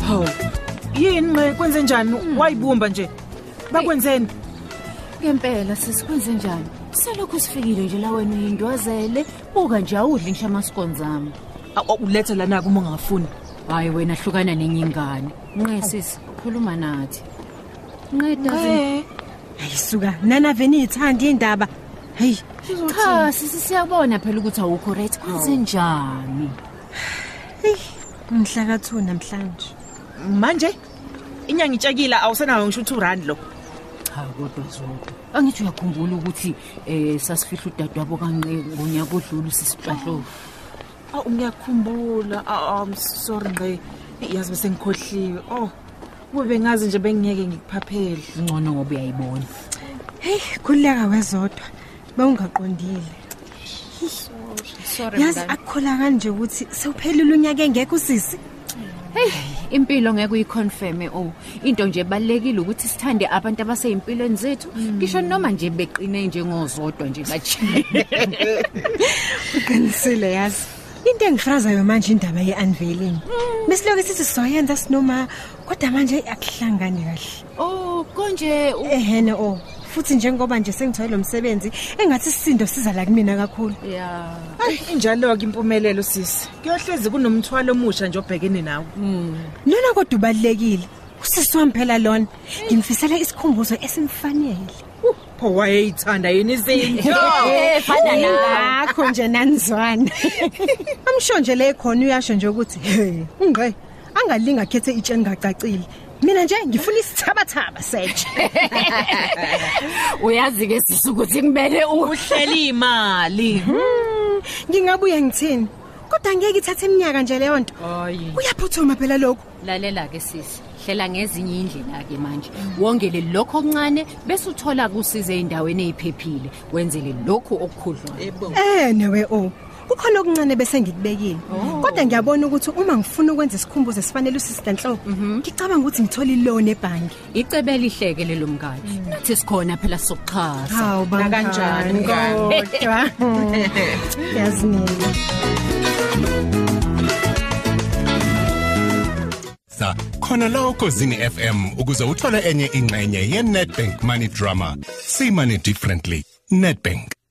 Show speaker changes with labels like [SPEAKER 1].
[SPEAKER 1] Haw. Yini nqe kwenze njani? Wayibumba nje. Bakwenzeni?
[SPEAKER 2] Ngempela sesikwenze njani? Selokhu sifikile nje la wena uyindwazele, buka nje awudli ngisho amasikonzami.
[SPEAKER 1] Ulethe lana kuma ungafuni.
[SPEAKER 2] Hayi wena hlukana nenye ingane. Nqe sisi, khuluma nathi. Nqe doesn't
[SPEAKER 1] Eh,
[SPEAKER 3] ayisuka nanave niyithanda indaba heyi
[SPEAKER 2] Cha, sisi siyabona phela ukuthi awukho right. Kwenze njani?
[SPEAKER 3] mhla ka-two namhlanje
[SPEAKER 1] manje inyanga itshekile awusenayo ngisho u2 rand lo.
[SPEAKER 2] Cha kodwa zonke. Angithi uyakhumbula ukuthi eh sasifihla udadwabo kanqe ngonyaka odlule sisitshahlo.
[SPEAKER 1] Aw ngiyakhumbula. Aw, I'm sorry nqe. Yazi bese ngikhohliwe. Oh. Ube ngazi nje bengiyeke ngikuphaphele.
[SPEAKER 2] Ngcono ngoba uyayibona.
[SPEAKER 3] heyi khululeka wezodwa bewungaqondile
[SPEAKER 4] Sorry
[SPEAKER 3] yazi akukhola kani nje ukuthi sewuphelile unyaka engekho usisi
[SPEAKER 2] Impilo ngeke uyiconfirme o. Into nje ebalekile ukuthi sithande abantu abaseyimpilweni zethu, ngisho noma nje beqine nje ngozodwa nje kanje.
[SPEAKER 3] qinisile yazi into engifrazayo manje indaba ye-unveiling besiloke sithi sizoyenza sinoma kodwa manje eyi, akuhlangani kahle
[SPEAKER 2] Oh, konje u-
[SPEAKER 3] ehene o futhi njengoba nje sengithole lo msebenzi engathi isisindo sizala kumina kakhulu
[SPEAKER 2] ya.
[SPEAKER 1] Ayi injalo ke impumelelo sisi. Kuyohlezi kunomthwalo omusha nje obhekene nawe.
[SPEAKER 3] lona kodwa ubalulekile usisi wami phela lona ngimfisele isikhumbuzo esimfanele
[SPEAKER 1] Pho wayeyithanda yini izinto?
[SPEAKER 2] Efana
[SPEAKER 3] ngakho nje nanizwana amsho nje le khona uyasho nje ukuthi he ungqe angalinga akhethe itshe ngacacile mina nje ngifuna isithabathaba setshe
[SPEAKER 2] Uyazi ke sisukuthi kumele u
[SPEAKER 1] Uhleli imali.
[SPEAKER 3] ngingabuye ngithini kodwa ngeke ithathe iminyaka nje leyo nto
[SPEAKER 1] Hayi.
[SPEAKER 3] uyaphuthuma phela lokho
[SPEAKER 2] Lalela ke sisi. Hlela ngezinye indlela ke manje. Wongele lokho okuncane bese uthola kusize endaweni eziphephile. Wenzele lokho okukhudlwa.
[SPEAKER 3] Eh newe o. Kukhona okuncane bese ngikubekile. Kodwa ngiyabona ukuthi uma ngifuna ukwenza isikhumbuzo esifanele usisita Nhlobo, ngicabanga ukuthi ngithola iloan ebhanki.
[SPEAKER 2] Icebe elihleke lelo mngane. Nathi sikhona phela sokuxhasa.
[SPEAKER 3] bani
[SPEAKER 1] kanjani,
[SPEAKER 3] kodwa. Yazi mina.
[SPEAKER 5] sa khona la ukozini fm ukuze uthole enye ingxenye ye-netbank money drama simane differently netbank